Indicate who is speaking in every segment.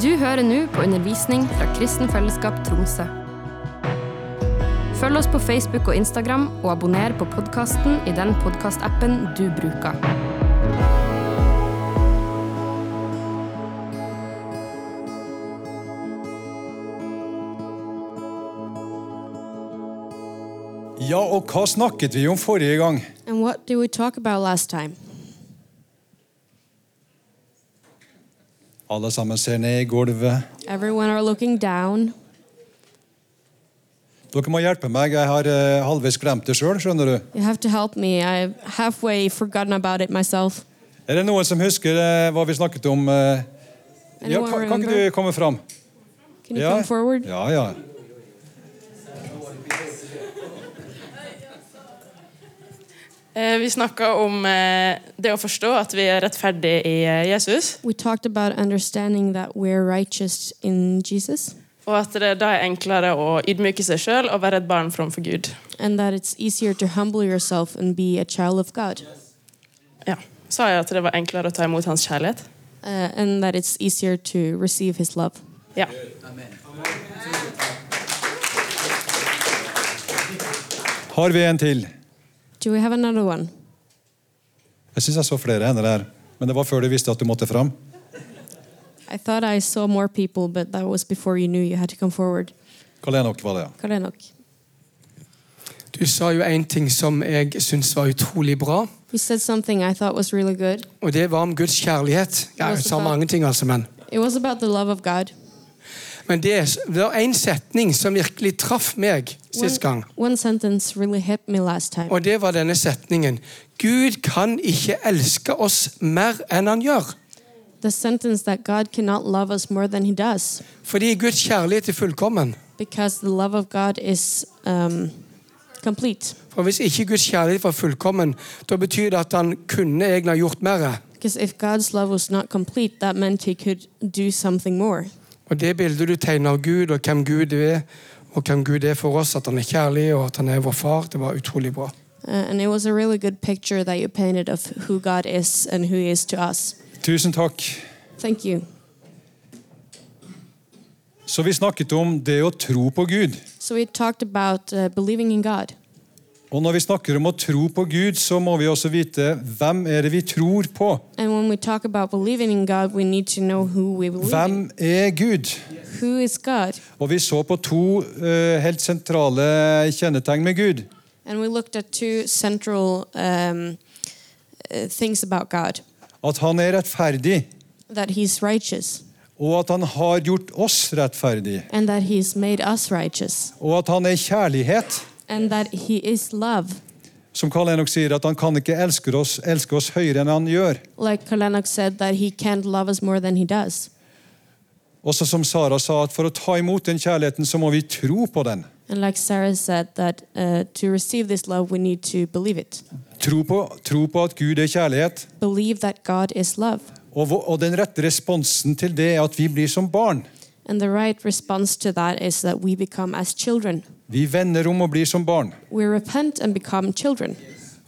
Speaker 1: Du hører nå på undervisning fra Kristen Fellesskap Tromsø. Følg oss på Facebook og Instagram, og abonner på podkasten i den podkastappen du bruker.
Speaker 2: Ja, og hva snakket vi om forrige gang?
Speaker 3: And what did we talk about last time?
Speaker 2: Alle sammen ser ned i gulvet.
Speaker 3: Everyone are looking down.
Speaker 2: Dere må hjelpe meg. Jeg har eh, halvveis glemt det sjøl, skjønner du.
Speaker 3: You have to help me. I've halfway forgotten about it myself.
Speaker 2: Er det noen som husker eh, hva vi snakket om? eh? Ja,
Speaker 3: Anyone
Speaker 2: kan, kan ikke
Speaker 3: remember?
Speaker 2: du komme fram?
Speaker 3: Can you come forward?
Speaker 2: Ja, ja.
Speaker 4: Eh, Vi snakka om eh, det å forstå at vi er rettferdige i eh, Jesus,
Speaker 3: We talked about understanding that we're righteous in Jesus
Speaker 4: og at det da er enklere å ydmyke seg sjøl og være et barn framfor Gud.
Speaker 3: and that it's easier to humble yourself and be a child of God.
Speaker 4: Ja. Sa jeg at det var enklere å ta imot hans kjærlighet?
Speaker 3: Uh, and that it's easier to receive his love.
Speaker 4: Ja.
Speaker 2: Har vi en til?
Speaker 3: Do we have another one?
Speaker 2: Jeg syns jeg så flere hender der. Men det var før du visste at du måtte fram.
Speaker 3: I thought I saw more people, but that was before you knew you had to come forward.
Speaker 2: Karl Enok var det, ja.
Speaker 3: Karl Enoch,
Speaker 5: Du sa jo en ting som jeg syns var utrolig bra,
Speaker 3: you said something I thought was really good.
Speaker 5: og det var om Guds kjærlighet. Ja, jeg sa mange ting, altså, men
Speaker 3: It was about the love of God.
Speaker 5: Men det er- det var en setning som virkelig traff meg
Speaker 3: One,
Speaker 5: sist gang,
Speaker 3: one sentence really hit me last time.
Speaker 5: og det var denne setningen Gud kan ikke elske oss mer enn han gjør.
Speaker 3: The sentence that God cannot love us more than He does,
Speaker 5: Fordi Guds kjærlighet er fullkommen.
Speaker 3: because the love of God is um, complete.
Speaker 5: For hvis ikke Guds kjærlighet var fullkommen, da betyr det at han kunne egentlig ha gjort mer.
Speaker 3: Because if God's love was not complete, that meant He could do something more.
Speaker 5: Og det bildet du tegner av Gud, og hvem Gud er, og hvem Gud er for oss, at han er kjærlig, og at han er vår far, det var utrolig bra.
Speaker 3: Uh, and it was a really good picture that you painted of who God is and who He is to us.
Speaker 2: Tusen takk.
Speaker 3: Thank you.
Speaker 2: Så vi snakket om det å tro på Gud.
Speaker 3: So we talked about uh, believing in God.
Speaker 2: Og når vi snakker om å tro på Gud, så må vi også vite hvem er det vi tror på.
Speaker 3: And when we talk about believing in God, we need to know who we believe
Speaker 2: Hvem
Speaker 3: in.
Speaker 2: er Gud?
Speaker 3: Who is God?
Speaker 2: Og vi så på to eh, helt sentrale kjennetegn med Gud.
Speaker 3: And we looked at two central um, uh, things about God
Speaker 2: At han er rettferdig,
Speaker 3: that He's righteous,
Speaker 2: og at han har gjort oss rettferdig.
Speaker 3: and that He's made us righteous,
Speaker 2: Og at han er kjærlighet,
Speaker 3: and that He is love.
Speaker 2: som Karl Enok sier, at han kan ikke elske oss, elske oss høyere enn han gjør.
Speaker 3: Like Kalanok said, that He can't love us more than He does.
Speaker 2: Også som Sara sa, at for å ta imot den kjærligheten, så må vi tro på den.
Speaker 3: And like Sarah said, that uh, to receive this love, we need to believe it.
Speaker 2: Tro på, tro på at Gud er kjærlighet.
Speaker 3: Believe that God is love.
Speaker 2: Og, vå- og den rette responsen til det er at vi blir som barn.
Speaker 3: And the right response to that is that we become as children.
Speaker 2: Vi vender om og blir som barn.
Speaker 3: We repent and become children.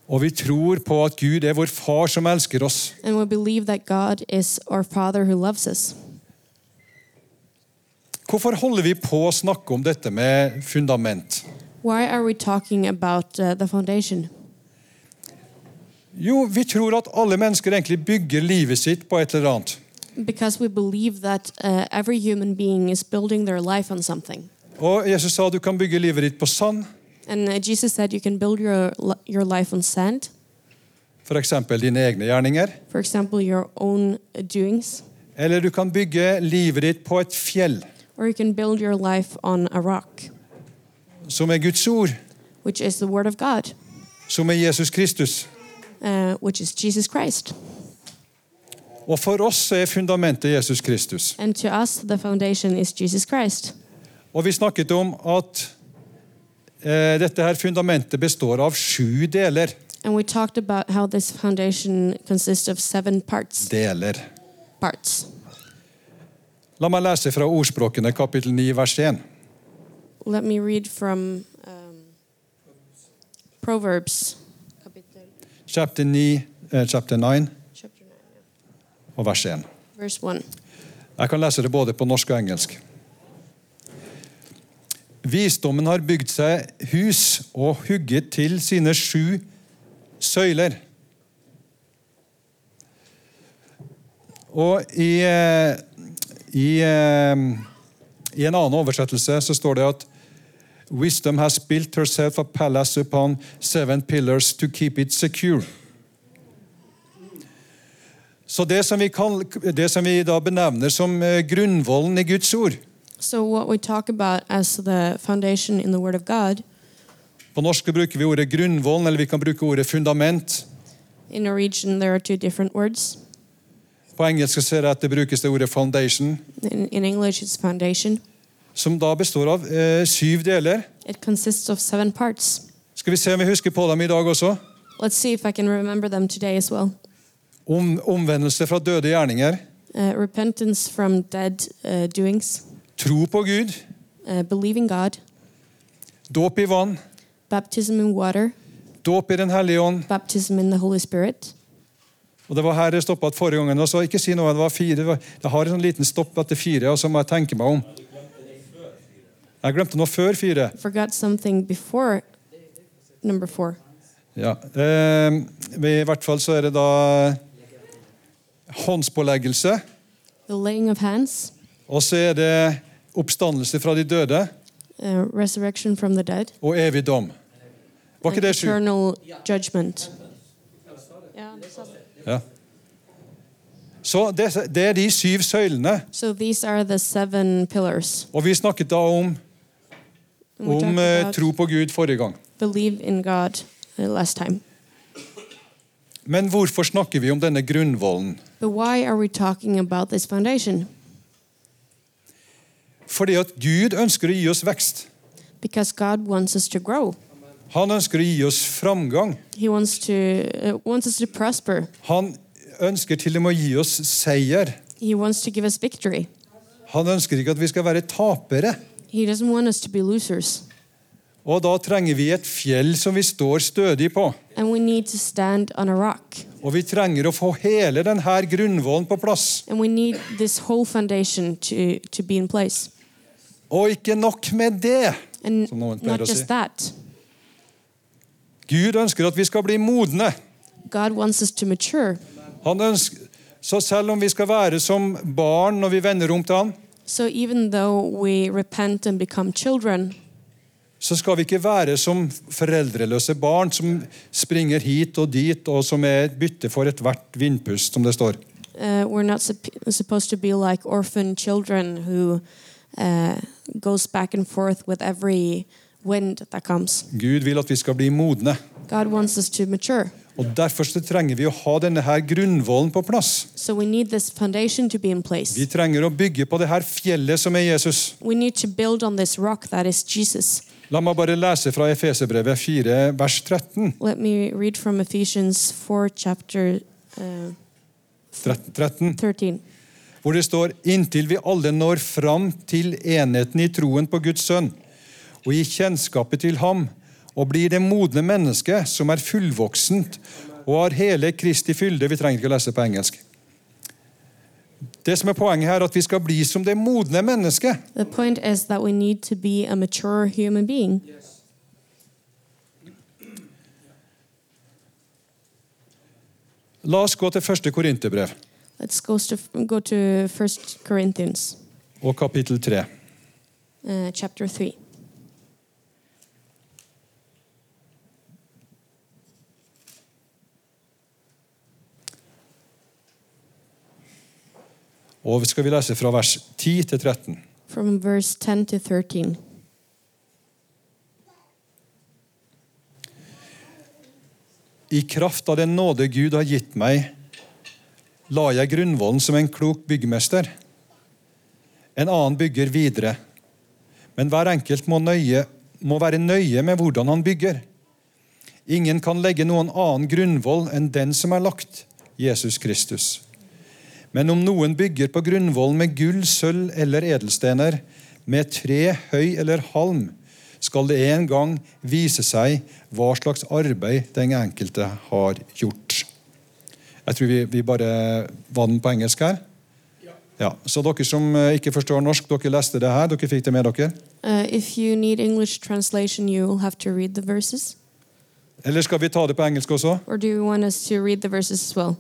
Speaker 2: Og vi tror på at Gud er vår far som elsker oss.
Speaker 3: And we believe that God is our Father who loves us.
Speaker 2: Hvorfor holder vi på å snakke om dette med fundament?
Speaker 3: Why are we talking about uh, the foundation?
Speaker 2: Jo, vi tror at alle mennesker egentlig bygger livet sitt på et eller annet.
Speaker 3: Because we believe that uh, every human being is building their life on something.
Speaker 2: Og Jesus sa du kan bygge livet ditt på sand,
Speaker 3: And uh, Jesus said you can build your, li- your life on sand,
Speaker 2: f.eks. dine egne gjerninger.
Speaker 3: for example, your own uh, doings,
Speaker 2: Eller du kan bygge livet ditt på et fjell,
Speaker 3: or you can build your life on a rock,
Speaker 2: som er Guds ord,
Speaker 3: which is the Word of God,
Speaker 2: som er Jesus Kristus.
Speaker 3: uh, which is Jesus Christ.
Speaker 2: Og for oss er fundamentet Jesus Kristus.
Speaker 3: And to us, the foundation is Jesus Christ.
Speaker 2: Og vi snakket om at eh, dette her fundamentet består av sju deler.
Speaker 3: And we talked about how this foundation consists of seven parts.
Speaker 2: Deler.
Speaker 3: Parts.
Speaker 2: La meg lese fra Ordspråkene kapittel 9 vers 1.
Speaker 3: Let me read from um, Proverbs, capital-
Speaker 2: Chapter 9, eh, chapter 9
Speaker 3: chapter 9,
Speaker 2: og vers 1.
Speaker 3: verse 1.
Speaker 2: Jeg kan lese det både på norsk og engelsk. Visdommen har bygd seg hus og hugget til sine sju søyler. Og i, eh, i, eh, i en annen oversettelse så står det at Wisdom has built herself a palace upon seven pillars to keep it secure. Så det som vi, kall- det som vi da benevner som eh, grunnvollen i Guds ord
Speaker 3: So, what we talk about as the foundation in the Word of God,
Speaker 2: På norsk bruker vi ordet grunnvollen, eller vi kan bruke ordet fundament.
Speaker 3: in Norwegian there are two different words.
Speaker 2: På engelsk ser jeg at det brukes det ordet foundation,
Speaker 3: In, in English, it's foundation.
Speaker 2: som da består av eh, syv deler.
Speaker 3: It consists of seven parts.
Speaker 2: Skal vi se om vi husker på dem i dag også?
Speaker 3: Let's see if I can remember them today as well.
Speaker 2: Om, omvendelse fra døde gjerninger,
Speaker 3: Uh, repentance from dead uh, doings,
Speaker 2: tro på Gud,
Speaker 3: uh, believing God,
Speaker 2: dåp i vann,
Speaker 3: baptism in water,
Speaker 2: dåp i Den hellige ånd.
Speaker 3: baptism in the Holy Spirit.
Speaker 2: Og Det var her det stoppet forrige gangen. og så Ikke si noe, det var fire. Det var- Jeg har en sånn liten stopp etter fire, og så må jeg tenke meg om. Jeg glemte noe før fire.
Speaker 3: Forgot something before number four.
Speaker 2: Ja. Eh, I hvert fall så er det da håndspåleggelse.
Speaker 3: The laying of hands,
Speaker 2: Og så er det oppstandelse fra de døde
Speaker 3: uh, resurrection from the dead,
Speaker 2: og evig dom. Var ikke
Speaker 3: and
Speaker 2: det sju?
Speaker 3: eternal judgment. Yeah.
Speaker 2: Ja. Så det, det er de syv søylene.
Speaker 3: So these are the seven pillars.
Speaker 2: Og vi snakket da om,
Speaker 3: And we
Speaker 2: om
Speaker 3: talked
Speaker 2: eh,
Speaker 3: about
Speaker 2: tro på Gud forrige gang.
Speaker 3: believe in God uh, last time.
Speaker 2: Men hvorfor snakker vi om denne grunnvollen?
Speaker 3: But why are we talking about this foundation?
Speaker 2: Fordi at Gud ønsker å gi oss vekst.
Speaker 3: Because God wants us to grow.
Speaker 2: Han ønsker å gi oss framgang.
Speaker 3: He wants to uh, wants us to prosper.
Speaker 2: Han ønsker til og med å gi oss seier.
Speaker 3: He wants to give us victory.
Speaker 2: Han ønsker ikke at vi skal være tapere.
Speaker 3: He doesn't want us to be losers.
Speaker 2: Og da trenger vi et fjell som vi står stødig på.
Speaker 3: And we need to stand on a rock.
Speaker 2: Og vi trenger å få hele denne grunnvollen på plass.
Speaker 3: And we need this whole foundation to, to be in place.
Speaker 2: Og ikke nok med det.
Speaker 3: And
Speaker 2: Som någon
Speaker 3: not
Speaker 2: plejer att
Speaker 3: just
Speaker 2: säga.
Speaker 3: that.
Speaker 2: Gud ønsker at vi skal bli modne.
Speaker 3: God wants us to mature.
Speaker 2: Han ønsker, så selv om vi skal være som barn når vi vender om til ham,
Speaker 3: So even though we repent and become children,
Speaker 2: så skal vi ikke være som foreldreløse barn som springer hit og dit, og som er et bytte for ethvert vindpust, som det står.
Speaker 3: uh, we're not sup- supposed to be like orphan children who uh, goes back and forth with every wind that comes.
Speaker 2: Gud vil at vi skal bli modne.
Speaker 3: God wants us to mature.
Speaker 2: Og Derfor så trenger vi å ha denne her grunnvollen på plass.
Speaker 3: So we need this foundation to be in
Speaker 2: Vi
Speaker 3: place.
Speaker 2: trenger å bygge på det her fjellet som er Jesus.
Speaker 3: We need to build on this rock that is Jesus.
Speaker 2: La meg bare lese fra Efeserbrevet 4, vers 13.
Speaker 3: Let me read from Ephesians 4, chapter uh,
Speaker 2: Tret- 13
Speaker 3: 13.
Speaker 2: hvor det står inntil vi alle når fram til enheten i troen på Guds sønn og i kjennskapet til ham og blir det modne mennesket som er fullvoksent og har hele Kristi fylde. Vi trenger ikke å lese på engelsk. Det som er poenget her, er at vi skal bli som det modne mennesket.
Speaker 3: The point is that we need to be a mature human being.
Speaker 2: La oss gå til første Korinterbrev
Speaker 3: Let's go to, go to 1 Corinthians
Speaker 2: og kapittel 3.
Speaker 3: uh, chapter 3.
Speaker 2: Og skal vi lese fra vers 10 til 13.
Speaker 3: from verse 10 to 13.
Speaker 2: I kraft av den nåde Gud har gitt meg, la jeg grunnvollen som en klok byggmester. En annen bygger videre. Men hver enkelt må, nøye, må være nøye med hvordan han bygger. Ingen kan legge noen annen grunnvoll enn den som er lagt, Jesus Kristus. Men om noen bygger på grunnvollen med gull, sølv eller edelstener, med tre, høy eller halm, skal det en gang vise seg hva slags arbeid den enkelte har gjort. Jeg tror vi, vi bare var den på engelsk her. Ja, Så dere som eh, ikke forstår norsk, dere leste det her. Dere fikk det med dere.
Speaker 3: Uh, if you need English translation, you will have to read the verses.
Speaker 2: Eller skal vi ta det på engelsk også?
Speaker 3: Or do you want us to read the verses as well?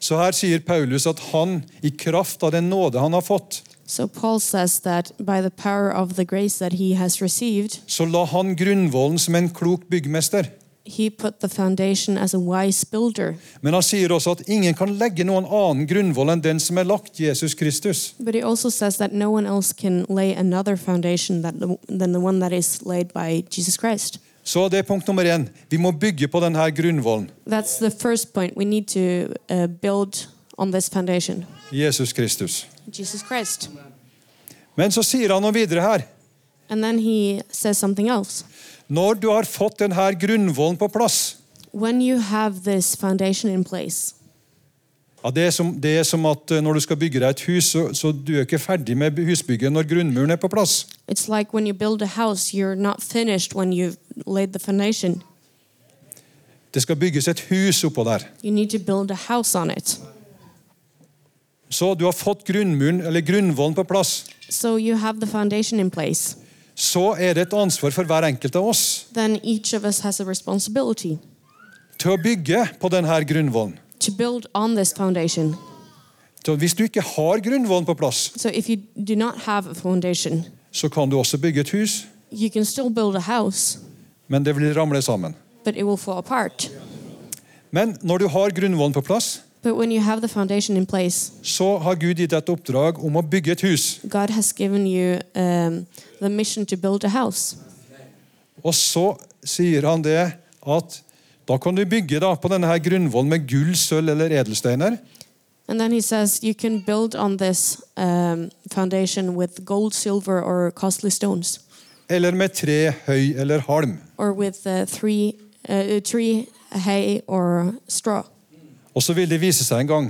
Speaker 2: Så her sier Paulus at han, i kraft av den nåde han har fått,
Speaker 3: So Paul says that by the power of the grace that he has received,
Speaker 2: så la han grunnvollen som en klok byggmester.
Speaker 3: he put the foundation as a wise builder.
Speaker 2: Men han sier også at ingen kan legge noen annen grunnvoll enn den som er lagt Jesus Kristus.
Speaker 3: But he also says that no one else can lay another foundation that the, than the one that is laid by Jesus Christ.
Speaker 2: Så det er punkt nummer én. Vi må bygge på denne grunnvollen.
Speaker 3: That's the first point. We need to uh, build on this foundation,
Speaker 2: Jesus Kristus.
Speaker 3: Jesus Christ.
Speaker 2: Men så sier han noe videre her.
Speaker 3: And then he says something else.
Speaker 2: Når du har fått denne grunnvollen på plass
Speaker 3: When you have this foundation in place,
Speaker 2: ja, det, er som, det er som at eh, når du skal bygge deg et hus, så, så du er ikke ferdig med husbygget når grunnmuren er på plass.
Speaker 3: it's like when you build a house, you're not finished when you've laid the foundation.
Speaker 2: Det skal bygges et hus oppå der.
Speaker 3: You need to build a house on it.
Speaker 2: Så du har fått grunnmuren, eller grunnvollen på plass.
Speaker 3: So you have the foundation in place.
Speaker 2: Så er det et ansvar for hver enkelt av oss
Speaker 3: Then each of us has a responsibility
Speaker 2: til å bygge på denne grunnvollen.
Speaker 3: to build on this foundation.
Speaker 2: Så hvis du ikke har grunnvollen på plass,
Speaker 3: So if you do not have a foundation,
Speaker 2: så kan du også bygge et hus,
Speaker 3: you can still build a house,
Speaker 2: men det vil ramle sammen.
Speaker 3: but it will fall apart.
Speaker 2: Men når du har grunnvollen på plass,
Speaker 3: But when you have the foundation in place,
Speaker 2: så har Gud gitt deg et oppdrag om å bygge et hus.
Speaker 3: God has given you um, the mission to build a house.
Speaker 2: Og så sier han det at da kan du bygge da på denne her grunnvollen med gull, sølv eller edelsteiner.
Speaker 3: And then he says you can build on this um, foundation with gold, silver, or costly stones,
Speaker 2: Eller med tre, høy eller halm.
Speaker 3: or with uh, three, uh, tree, hay, or straw.
Speaker 2: Og så vil det vise seg en gang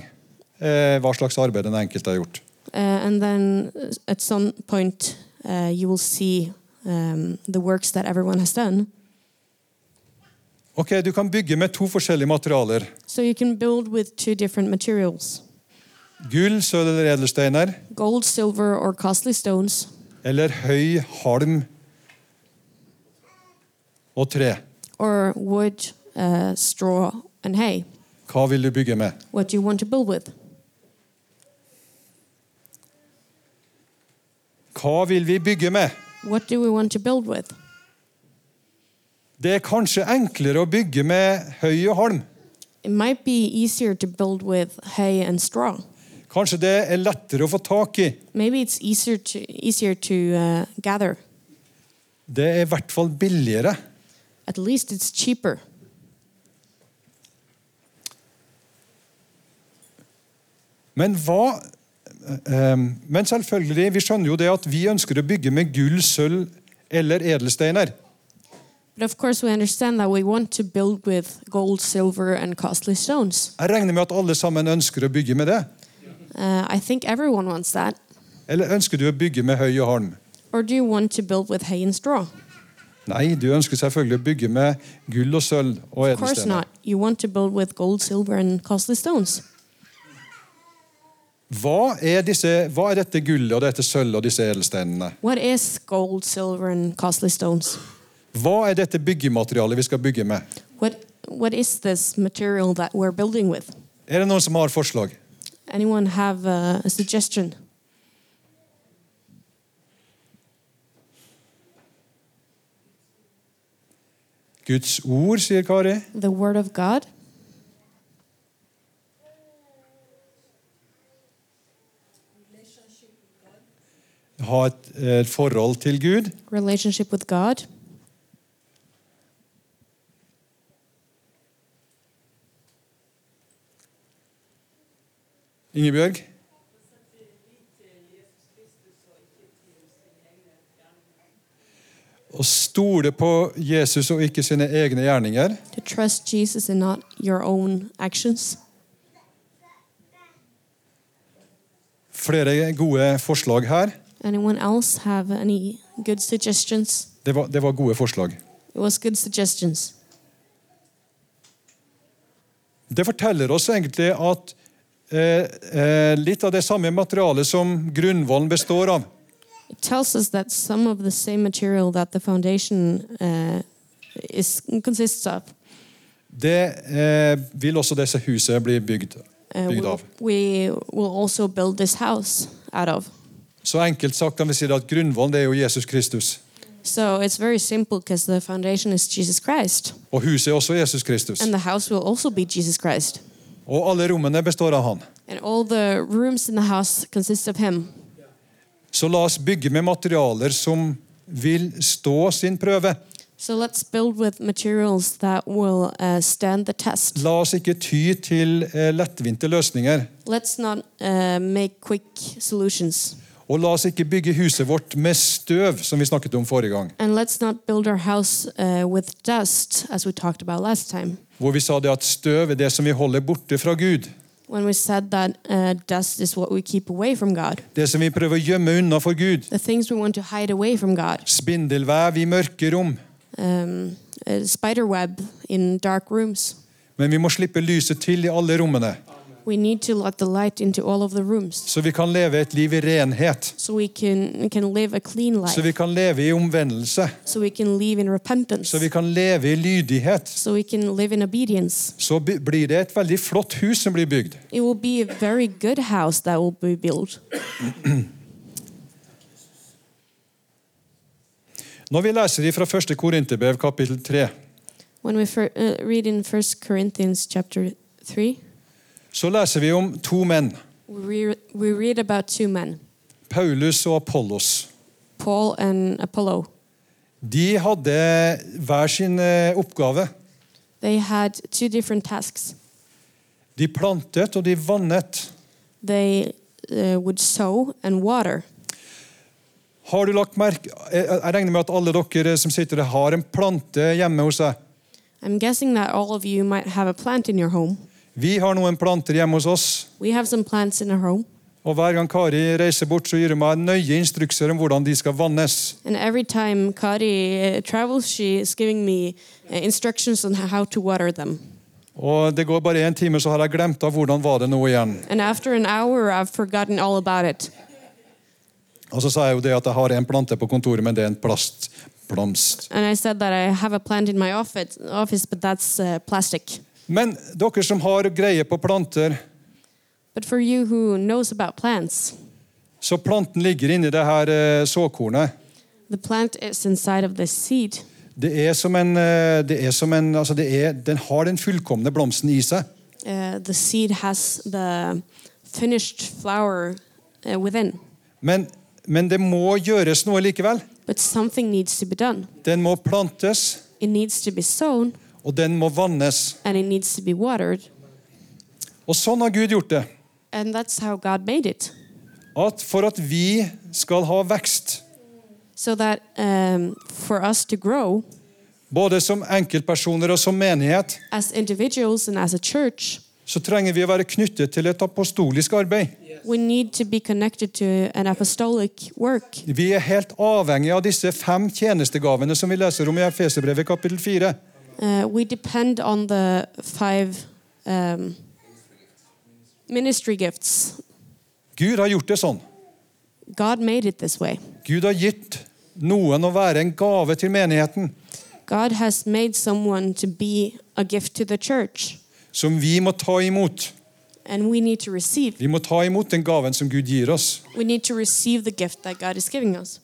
Speaker 2: eh, hva slags arbeid den enkelte har gjort.
Speaker 3: Uh, and then uh, at some point, uh, you will see um, the works that everyone has done.
Speaker 2: Ok, Du kan bygge med to forskjellige materialer.
Speaker 3: So you can build with two different materials
Speaker 2: Gull, sølv eller edelsteiner.
Speaker 3: gold, silver, or costly stones,
Speaker 2: Eller høy, halm og tre.
Speaker 3: or wood, uh, straw, and hay.
Speaker 2: Hva vil du bygge med?
Speaker 3: What do you want to build with?
Speaker 2: Hva vil vi bygge med?
Speaker 3: What do we want to build with?
Speaker 2: Det er kanskje enklere å bygge med høy og halm.
Speaker 3: It might be easier to build with hay and straw.
Speaker 2: Kanskje det er lettere å få tak i.
Speaker 3: Maybe it's easier to easier to uh, gather.
Speaker 2: Det er i hvert fall billigere.
Speaker 3: At least it's cheaper.
Speaker 2: Men hva eh, Men selvfølgelig, vi skjønner jo det at vi ønsker å bygge med gull, sølv eller edelsteiner.
Speaker 3: But of course, we understand that we want to build with gold, silver, and costly stones.
Speaker 2: Jeg regner med at alle sammen ønsker å bygge med det.
Speaker 3: Uh, I think everyone wants that.
Speaker 2: Eller ønsker du å bygge med høy og halm?
Speaker 3: Or do you want to build with hay and straw?
Speaker 2: Nei, du ønsker selvfølgelig å bygge med gull og sølv og
Speaker 3: Of course
Speaker 2: edelsteiner.
Speaker 3: not. You want to build with gold, silver, and costly stones.
Speaker 2: Hva er, disse, hva er dette gullet og dette sølvet og disse edelsteinene?
Speaker 3: What is gold, silver, and costly stones?
Speaker 2: Hva er dette byggematerialet vi skal bygge med?
Speaker 3: What What is this material that we're building with?
Speaker 2: Er det noen som har forslag?
Speaker 3: Anyone have uh, a suggestion?
Speaker 2: Guds ord, sier Kari.
Speaker 3: The Word of God.
Speaker 2: Ha et eh, forhold til Gud.
Speaker 3: relationship with God,
Speaker 2: Ingebjørg? Å stole på Jesus og ikke sine egne gjerninger.
Speaker 3: to trust Jesus and not your own actions.
Speaker 2: Flere gode forslag her.
Speaker 3: Anyone else have any good suggestions?
Speaker 2: Det var, det var gode forslag.
Speaker 3: It was good suggestions.
Speaker 2: Det forteller oss egentlig at eh, eh, litt av det samme materialet som grunnvollen består av,
Speaker 3: It tells us that some of the same material that the foundation uh, is consists of
Speaker 2: det eh, vil også disse huset bli bygd,
Speaker 3: uh,
Speaker 2: bygd
Speaker 3: will-
Speaker 2: av.
Speaker 3: we will also build this house out of.
Speaker 2: Så enkelt sagt kan vi si det at grunnvollen det er jo Jesus Kristus.
Speaker 3: So it's very simple because the foundation is Jesus Christ,
Speaker 2: Og huset er også Jesus Kristus.
Speaker 3: and the house will also be Jesus Christ,
Speaker 2: Og alle rommene består av han.
Speaker 3: and all the rooms in the house consist of Him.
Speaker 2: Så la oss bygge med materialer som vil stå sin prøve.
Speaker 3: So let's build with materials that will uh, stand the test.
Speaker 2: La oss ikke ty til eh, lettvinte løsninger.
Speaker 3: Let's not uh, make quick solutions.
Speaker 2: Og la oss ikke bygge huset vårt med støv, som vi snakket om forrige gang.
Speaker 3: And let's not build our house uh, with dust, as we talked about last time,
Speaker 2: Hvor vi sa det at støv er det som vi holder borte fra Gud.
Speaker 3: when we said that uh, dust is what we keep away from God,
Speaker 2: Det som vi prøver å gjemme unna for Gud.
Speaker 3: the things we want to hide away from God,
Speaker 2: Spindelvev i mørke rom.
Speaker 3: um, a spider web in dark rooms.
Speaker 2: Men vi må slippe lyset til i alle rommene,
Speaker 3: We need to let the light into all of the rooms
Speaker 2: så vi kan leve et liv i renhet.
Speaker 3: so we can, we can live a clean life,
Speaker 2: Så vi kan leve i omvendelse.
Speaker 3: so we can live in repentance,
Speaker 2: Så vi kan leve i lydighet.
Speaker 3: so we can live in obedience.
Speaker 2: Så by- blir det et veldig flott hus som blir bygd.
Speaker 3: It will be a very good house that will be built.
Speaker 2: Når vi leser fra 1. Korinterbrev kapittel 3,
Speaker 3: When we fir- uh, read in 1 Corinthians chapter 3,
Speaker 2: så leser vi om to menn,
Speaker 3: we, re- we read about two men,
Speaker 2: Paulus og Apollos.
Speaker 3: Paul and Apollo.
Speaker 2: De hadde hver sin eh, oppgave.
Speaker 3: They had two different tasks.
Speaker 2: De plantet og de vannet.
Speaker 3: They uh, would sow and water.
Speaker 2: Har du lagt merke Jeg jeg regner med at alle dere som sitter der, har en plante hjemme hos seg.
Speaker 3: I'm guessing that all of you might have a plant in your home.
Speaker 2: Vi har noen planter hjemme hos oss.
Speaker 3: We have some plants in our home,
Speaker 2: Og hver gang Kari reiser bort, så gir hun meg nøye instrukser om hvordan de skal vannes.
Speaker 3: and every time Kari uh, travels, she is giving me uh, instructions on how to water them.
Speaker 2: Og det går bare én time, så har jeg glemt av hvordan var det nå igjen.
Speaker 3: And after an hour, I've forgotten all about it.
Speaker 2: Og så sa jeg jo det at jeg har en plante på kontoret, men det er en plastblomst.
Speaker 3: And I said that I have a plant in my office, office but that's uh, plastic.
Speaker 2: Men dere som har greie på planter,
Speaker 3: But for you who knows about plants,
Speaker 2: så planten ligger inni det her eh, såkornet.
Speaker 3: the plant is inside of the seed.
Speaker 2: Det er som en, eh, det er som en altså det er, Den har den fullkomne blomsten i seg.
Speaker 3: Uh, the seed has the finished flower uh, within.
Speaker 2: Men, men det må gjøres noe likevel.
Speaker 3: But something needs to be done.
Speaker 2: Den må plantes,
Speaker 3: It needs to be sown
Speaker 2: og den må vannes.
Speaker 3: and it needs to be watered.
Speaker 2: Og sånn har Gud gjort det.
Speaker 3: And that's how God made it.
Speaker 2: at for at vi skal ha vekst,
Speaker 3: So that um, for us to grow
Speaker 2: både som enkeltpersoner og som menighet,
Speaker 3: as individuals and as a church,
Speaker 2: så trenger vi å være knyttet til et apostolisk arbeid.
Speaker 3: we need to be connected to an apostolic work.
Speaker 2: Vi er helt avhengig av disse fem tjenestegavene som vi leser om i Efeserbrevet kapittel 4.
Speaker 3: Uh, we depend on the five um, ministry gifts.
Speaker 2: Gud har gjort det sånn.
Speaker 3: God made it this way.
Speaker 2: Gud har gitt noen å være en gave til menigheten
Speaker 3: God has made someone to be a gift to the church,
Speaker 2: som vi må ta imot.
Speaker 3: and we need to receive.
Speaker 2: Vi må ta imot den gaven som Gud gir oss.
Speaker 3: We need to receive the gift that God is giving us.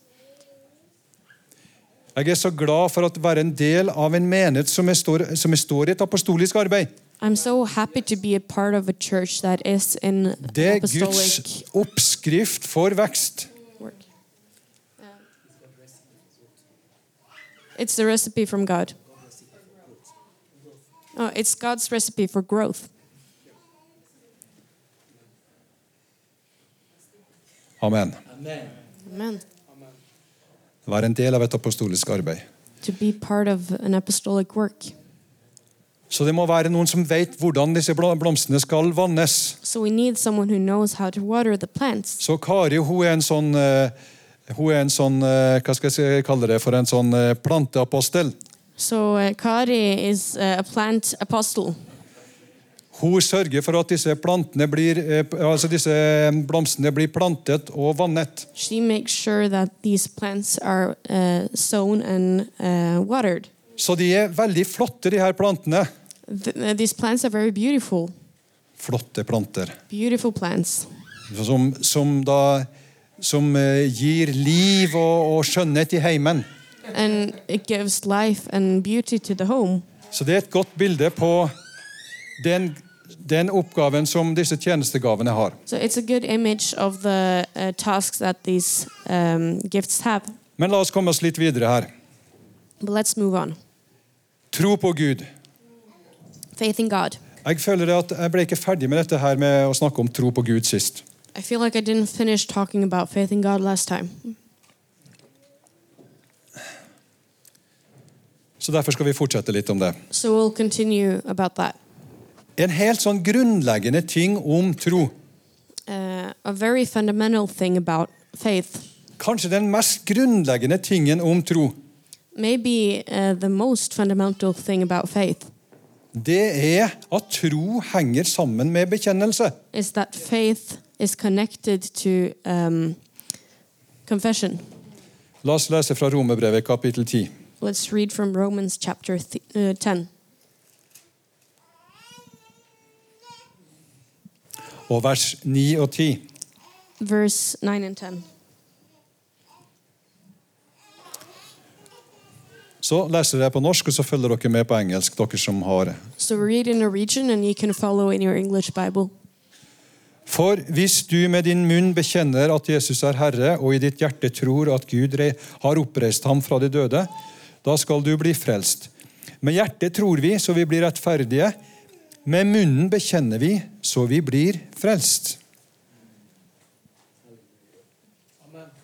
Speaker 2: Jeg er så glad for å være en del av en menighet som jeg står, som jeg står i et apostolisk arbeid.
Speaker 3: I'm so happy to be a part of a church that is in an
Speaker 2: Det er
Speaker 3: apostolic
Speaker 2: Guds oppskrift for vekst.
Speaker 3: work. Uh, It's the recipe from God. Oh, it's God's recipe for growth.
Speaker 2: Amen.
Speaker 3: Amen.
Speaker 2: Være en del av et apostolisk arbeid.
Speaker 3: to be part of an apostolic work.
Speaker 2: Så det må være noen som vet hvordan disse bla- blomstene skal vannes.
Speaker 3: So we need someone who knows how to water the plants.
Speaker 2: Så Kari hun er en sånn eh, hun er en sånn, eh, hva skal jeg si- kalle det, for en sånn eh, planteapostel.
Speaker 3: So uh, Kari is uh, a plant apostle.
Speaker 2: Hun sørger for at disse, plantene blir, eh, altså disse blomstene blir plantet og vannet.
Speaker 3: She makes sure that these plants are uh, sown and uh, watered.
Speaker 2: Så de er veldig flotte, de her plantene.
Speaker 3: Th- uh, these plants are very beautiful,
Speaker 2: Flotte planter.
Speaker 3: beautiful plants
Speaker 2: Som, som da som eh, gir liv og, og skjønnhet i heimen.
Speaker 3: and it gives life and beauty to the home.
Speaker 2: Så det er et godt bilde på den, den oppgaven som disse tjenestegavene har.
Speaker 3: So it's a good image of the uh, tasks that these um, gifts have.
Speaker 2: Men la oss komme oss litt videre her.
Speaker 3: But let's move on.
Speaker 2: Tro på Gud.
Speaker 3: Faith in God.
Speaker 2: Jeg føler at jeg ble ikke ferdig med dette her med å snakke om tro på Gud sist.
Speaker 3: I feel like I didn't finish talking about faith in God last time.
Speaker 2: Så derfor skal vi fortsette litt om det.
Speaker 3: So we'll continue about that.
Speaker 2: En helt sånn grunnleggende ting om tro.
Speaker 3: Uh, a very fundamental thing about faith,
Speaker 2: Kanskje den mest grunnleggende tingen om tro.
Speaker 3: maybe uh, the most fundamental thing about faith,
Speaker 2: Det er at tro henger sammen med bekjennelse.
Speaker 3: is that faith is connected to um, confession.
Speaker 2: La oss lese fra Romerbrevet kapittel 10.
Speaker 3: Let's read from Romans chapter th- uh, 10.
Speaker 2: og vers 9 og 10.
Speaker 3: verse 9 and 10.
Speaker 2: Så leser jeg på norsk, og så følger dere med på engelsk. dere som har det.
Speaker 3: So read in Norwegian and you can follow in your English Bible.
Speaker 2: For hvis du med din munn bekjenner at Jesus er Herre, og i ditt hjerte tror at Gud re- har oppreist ham fra de døde, da skal du bli frelst. Med hjertet tror vi, så vi blir rettferdige. Med munnen bekjenner vi, så vi blir frelst.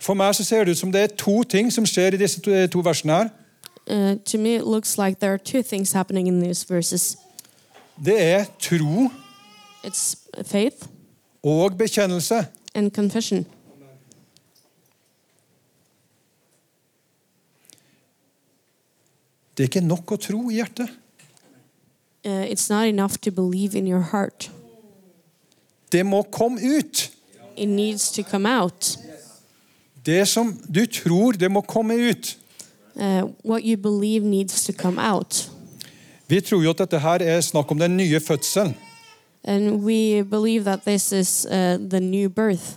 Speaker 2: For meg så ser det ut som det er to ting som skjer i disse to, to versene. her.
Speaker 3: Uh, to me, it looks like there are two things happening in these verses
Speaker 2: Det er tro
Speaker 3: it's faith
Speaker 2: og bekjennelse.
Speaker 3: and confession.
Speaker 2: Det er ikke nok å tro i hjertet.
Speaker 3: Uh, it's not enough to believe in your heart,
Speaker 2: Det må komme ut.
Speaker 3: it needs to come out.
Speaker 2: Det som du tror, det må komme ut.
Speaker 3: Uh, what you believe needs to come out.
Speaker 2: Vi tror jo at dette her er snakk om den nye fødselen.
Speaker 3: And we believe that this is uh, the new birth.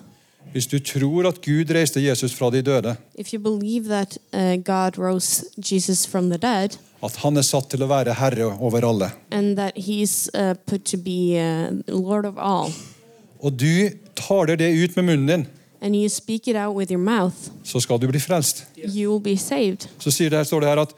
Speaker 2: Hvis du tror at Gud reiste Jesus fra de døde,
Speaker 3: If you believe that uh, God rose Jesus from the dead,
Speaker 2: at han er satt til å være herre over alle,
Speaker 3: and that he's uh, put to be uh, Lord of all.
Speaker 2: og du taler det ut med munnen din,
Speaker 3: And you speak it out with your mouth,
Speaker 2: så skal du bli frelst.
Speaker 3: you will be saved.
Speaker 2: Så sier det her, står det her at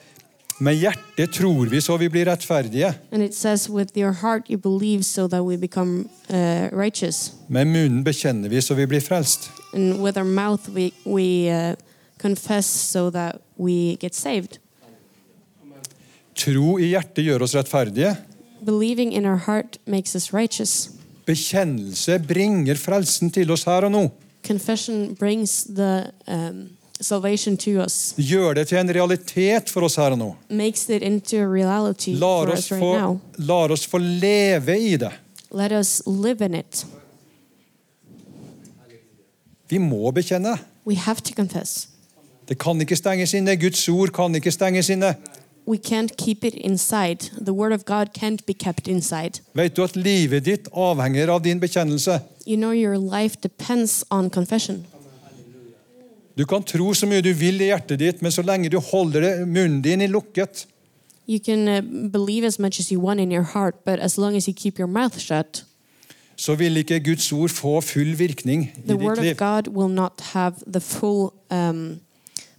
Speaker 2: med hjertet tror vi så vi blir rettferdige.
Speaker 3: And it says, with your heart you believe, so that we become uh, righteous.
Speaker 2: Med munnen bekjenner vi så vi blir frelst.
Speaker 3: And with our mouth we, we uh, confess, so that we get saved.
Speaker 2: Tro i hjertet gjør oss rettferdige.
Speaker 3: Believing in our heart makes us righteous.
Speaker 2: Bekjennelse bringer frelsen til oss her og nå.
Speaker 3: Confession brings the um, salvation to us,
Speaker 2: Gjør det til en realitet for oss her og nå.
Speaker 3: makes it into a reality
Speaker 2: Lar
Speaker 3: for
Speaker 2: oss
Speaker 3: us right
Speaker 2: få,
Speaker 3: now.
Speaker 2: lar oss få leve i det.
Speaker 3: Let us live in it.
Speaker 2: Vi må bekjenne.
Speaker 3: We have to confess.
Speaker 2: Det kan ikke stenges inne. Guds ord kan ikke stenges inne.
Speaker 3: we can't keep it inside. The word of God can't be kept inside.
Speaker 2: Vet du at livet ditt avhenger av din bekjennelse?
Speaker 3: You know, your life depends on confession.
Speaker 2: Du kan tro så mye du vil i hjertet ditt, men så lenge du holder det, munnen din i lukket,
Speaker 3: You can uh, believe as much as you want in your heart, but as long as you keep your mouth shut,
Speaker 2: så vil ikke Guds ord få full virkning i
Speaker 3: the
Speaker 2: ditt
Speaker 3: word of
Speaker 2: liv.
Speaker 3: God will not have the full um,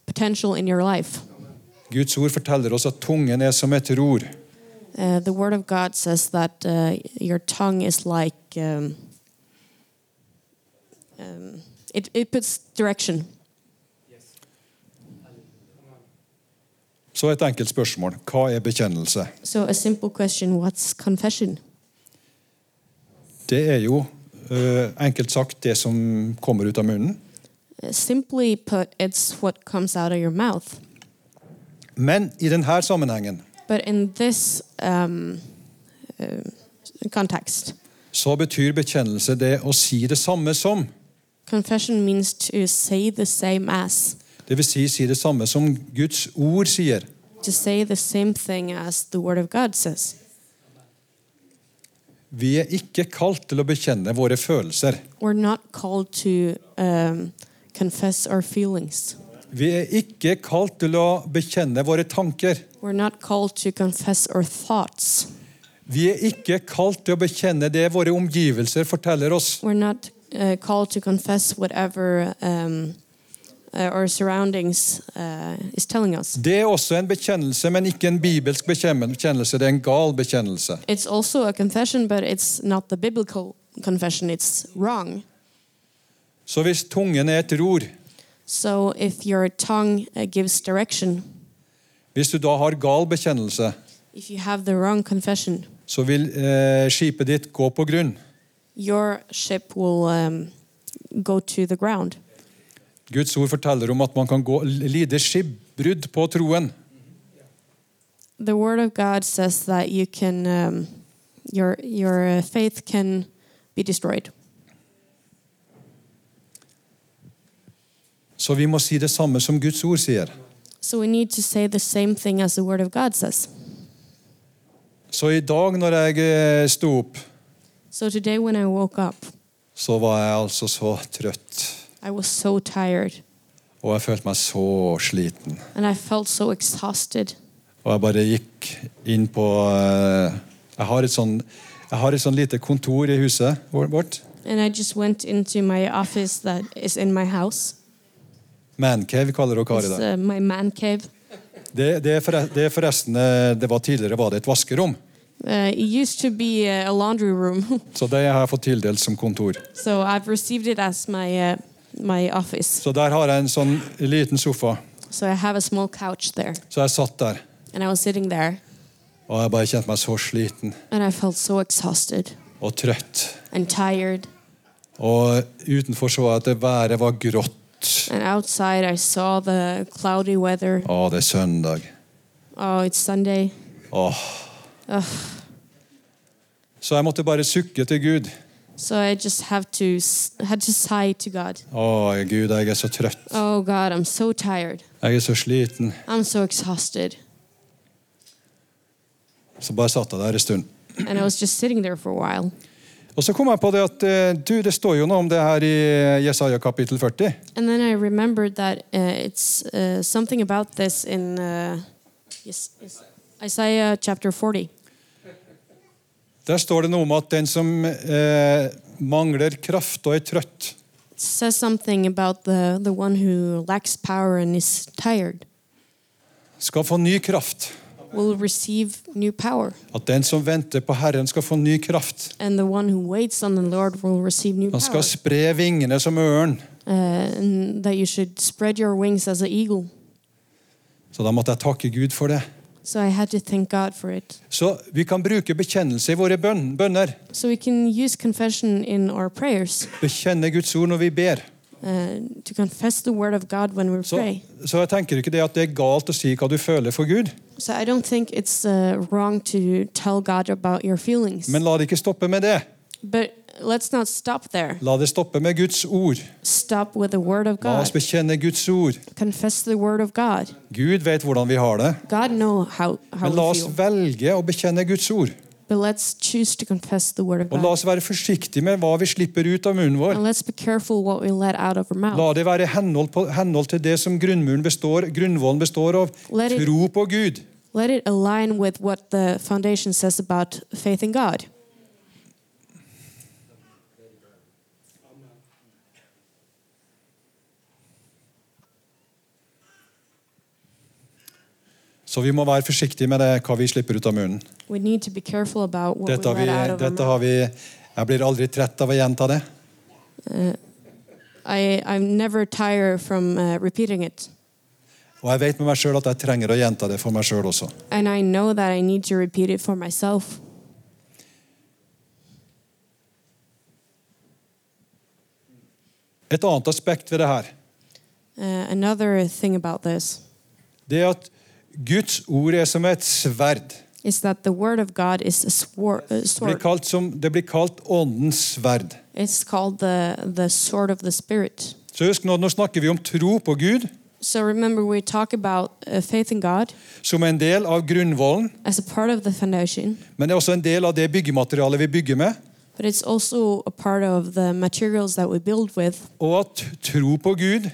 Speaker 3: potential in your life.
Speaker 2: Guds ord forteller oss at tungen er som et ror.
Speaker 3: Uh, the word of God says that uh, your tongue is like. Um, um, it, it puts direction.
Speaker 2: Så et enkelt spørsmål. Hva er bekjennelse?
Speaker 3: So, a simple question what's confession?
Speaker 2: Det er jo eh, enkelt sagt det som kommer ut av munnen.
Speaker 3: Uh, Simply put, it's what comes out of your mouth.
Speaker 2: Men i denne sammenhengen
Speaker 3: But in this um, uh, context.
Speaker 2: så betyr bekjennelse det å si det samme som.
Speaker 3: Confession means to say the same as,
Speaker 2: Det vil si, si det samme som Guds ord sier.
Speaker 3: to say the same thing as the Word of God says.
Speaker 2: Vi er ikke kalt til å bekjenne våre følelser.
Speaker 3: We're not called to um, confess our feelings.
Speaker 2: Vi er ikke kalt til å bekjenne våre tanker.
Speaker 3: We're not called to confess our thoughts.
Speaker 2: Vi er ikke kalt til å bekjenne det våre omgivelser forteller oss.
Speaker 3: We're not uh, called to confess whatever um, uh, our surroundings uh, is telling us.
Speaker 2: Det er også en bekjennelse, men ikke en bibelsk bekjennelse. Det er en gal bekjennelse.
Speaker 3: It's also a confession, but it's not the biblical confession. It's wrong.
Speaker 2: Så hvis tungen er et ror,
Speaker 3: So if your tongue uh, gives direction,
Speaker 2: hvis du da har gal bekjennelse,
Speaker 3: if you have the wrong confession,
Speaker 2: så vil eh, skipet ditt gå på grunn.
Speaker 3: your ship will um, go to the ground.
Speaker 2: Guds ord forteller om at man kan gå, lide skipbrudd på troen.
Speaker 3: The Word of God says that you can, um, your your uh, faith can be destroyed.
Speaker 2: Så vi må si det samme som Guds ord sier.
Speaker 3: So we need to say the same thing as the Word of God says.
Speaker 2: Så i dag når jeg eh, sto opp,
Speaker 3: So today, when I woke up,
Speaker 2: så var jeg altså så trøtt.
Speaker 3: I was so tired
Speaker 2: Og jeg følte meg så sliten.
Speaker 3: and I felt so exhausted.
Speaker 2: Og jeg bare gikk inn på eh, Jeg har et sånn, jeg har et sånn lite kontor i huset vår- vårt.
Speaker 3: And I just went into my office that is in my house.
Speaker 2: Mancave kaller hun Kari
Speaker 3: It's
Speaker 2: det.
Speaker 3: uh, my man cave.
Speaker 2: Det, det, er forre- det er forresten eh, det var Tidligere var det et vaskerom.
Speaker 3: Uh, it used to be uh, a laundry room,
Speaker 2: Så det har jeg fått tildelt som kontor.
Speaker 3: so I've received it as my uh, my office.
Speaker 2: Så der har jeg en sånn liten sofa.
Speaker 3: So I have a small couch there,
Speaker 2: Så jeg satt der,
Speaker 3: and I was sitting there,
Speaker 2: og jeg bare kjente meg så sliten
Speaker 3: and I felt so exhausted
Speaker 2: og trøtt.
Speaker 3: and tired.
Speaker 2: Og utenfor så jeg at det været var grått.
Speaker 3: And outside, I saw the cloudy weather.
Speaker 2: Å, det er søndag.
Speaker 3: Oh, it's Sunday.
Speaker 2: Åh. Så jeg måtte bare sukke til Gud.
Speaker 3: So I just have to s- had to sigh to God.
Speaker 2: Å, Gud, jeg er så trøtt.
Speaker 3: Oh God, I'm so tired.
Speaker 2: Jeg er så sliten.
Speaker 3: I'm so exhausted.
Speaker 2: Så bare satt jeg der en stund.
Speaker 3: And I was just sitting there for a while.
Speaker 2: Og så kom jeg på det at eh, du, det står jo noe om det her i eh, Jesaja kapittel 40.
Speaker 3: And then I remembered that uh, it's uh, something about this in uh, yes, yes, Isaiah chapter 40.
Speaker 2: Der står det noe om at den som eh, mangler kraft og er trøtt
Speaker 3: It says something about the, the one who lacks power and is tired
Speaker 2: skal få ny kraft.
Speaker 3: will receive new power,
Speaker 2: At den som venter på Herren, skal få ny kraft.
Speaker 3: and the one who waits on the Lord will receive
Speaker 2: Han
Speaker 3: new power.
Speaker 2: skal spre vingene som ørn.
Speaker 3: Uh, and that you should spread your wings as an eagle.
Speaker 2: Så da måtte jeg takke Gud for det.
Speaker 3: So I had to thank God for it.
Speaker 2: Så vi kan bruke bekjennelse i våre bønn- bønner.
Speaker 3: So we can use confession in our prayers
Speaker 2: Bekjenne Guds ord når vi ber.
Speaker 3: uh, to confess the word of God when we
Speaker 2: Så,
Speaker 3: pray.
Speaker 2: så jeg tenker ikke det at det er galt å si hva du føler for Gud,
Speaker 3: So I don't think it's uh, wrong to tell God about your feelings.
Speaker 2: men la det ikke stoppe med det.
Speaker 3: but let's not stop there.
Speaker 2: La det stoppe med Guds ord.
Speaker 3: Stop with the word of
Speaker 2: La
Speaker 3: God.
Speaker 2: oss bekjenne Guds ord.
Speaker 3: Confess the word of God.
Speaker 2: Gud vet hvordan vi har det,
Speaker 3: God know how how
Speaker 2: men la
Speaker 3: we
Speaker 2: oss
Speaker 3: feel.
Speaker 2: velge å bekjenne Guds ord.
Speaker 3: But let's choose to confess the word of
Speaker 2: Og la
Speaker 3: God.
Speaker 2: oss være forsiktige med hva vi slipper ut av munnen vår.
Speaker 3: And let's be careful what we let out of our
Speaker 2: La
Speaker 3: mouth.
Speaker 2: det være i henhold, på, henhold til det som grunnmuren består, grunnvollen består av.
Speaker 3: Let it-
Speaker 2: Tro på Gud.
Speaker 3: Let it align with what the foundation says about faith in God.
Speaker 2: Så vi må være forsiktige med det, hva vi slipper ut av munnen.
Speaker 3: We need to be careful about what
Speaker 2: Dette har
Speaker 3: we let
Speaker 2: vi,
Speaker 3: out of our
Speaker 2: dette
Speaker 3: mouth.
Speaker 2: har vi Jeg blir aldri trett av å gjenta det.
Speaker 3: I, I'm never tired from uh, repeating it.
Speaker 2: Og jeg vet med meg sjøl at jeg trenger å gjenta det for meg sjøl også.
Speaker 3: And I know that I need to repeat it for myself.
Speaker 2: Et annet aspekt ved det her
Speaker 3: Uh, another thing about this
Speaker 2: det er at Guds ord er som et sverd.
Speaker 3: is that the word of God is a swor- uh,
Speaker 2: Det blir
Speaker 3: sword.
Speaker 2: kalt, som, det blir kalt åndens sverd.
Speaker 3: It's called the, the sword of the spirit.
Speaker 2: Så husk Nå, nå snakker vi om tro på Gud
Speaker 3: So remember, we talk about uh, faith in God
Speaker 2: som en del av grunnvollen,
Speaker 3: as a part of the foundation,
Speaker 2: men det er også en del av det byggematerialet vi bygger med.
Speaker 3: but it's also a part of the materials that we build with,
Speaker 2: Og at tro på Gud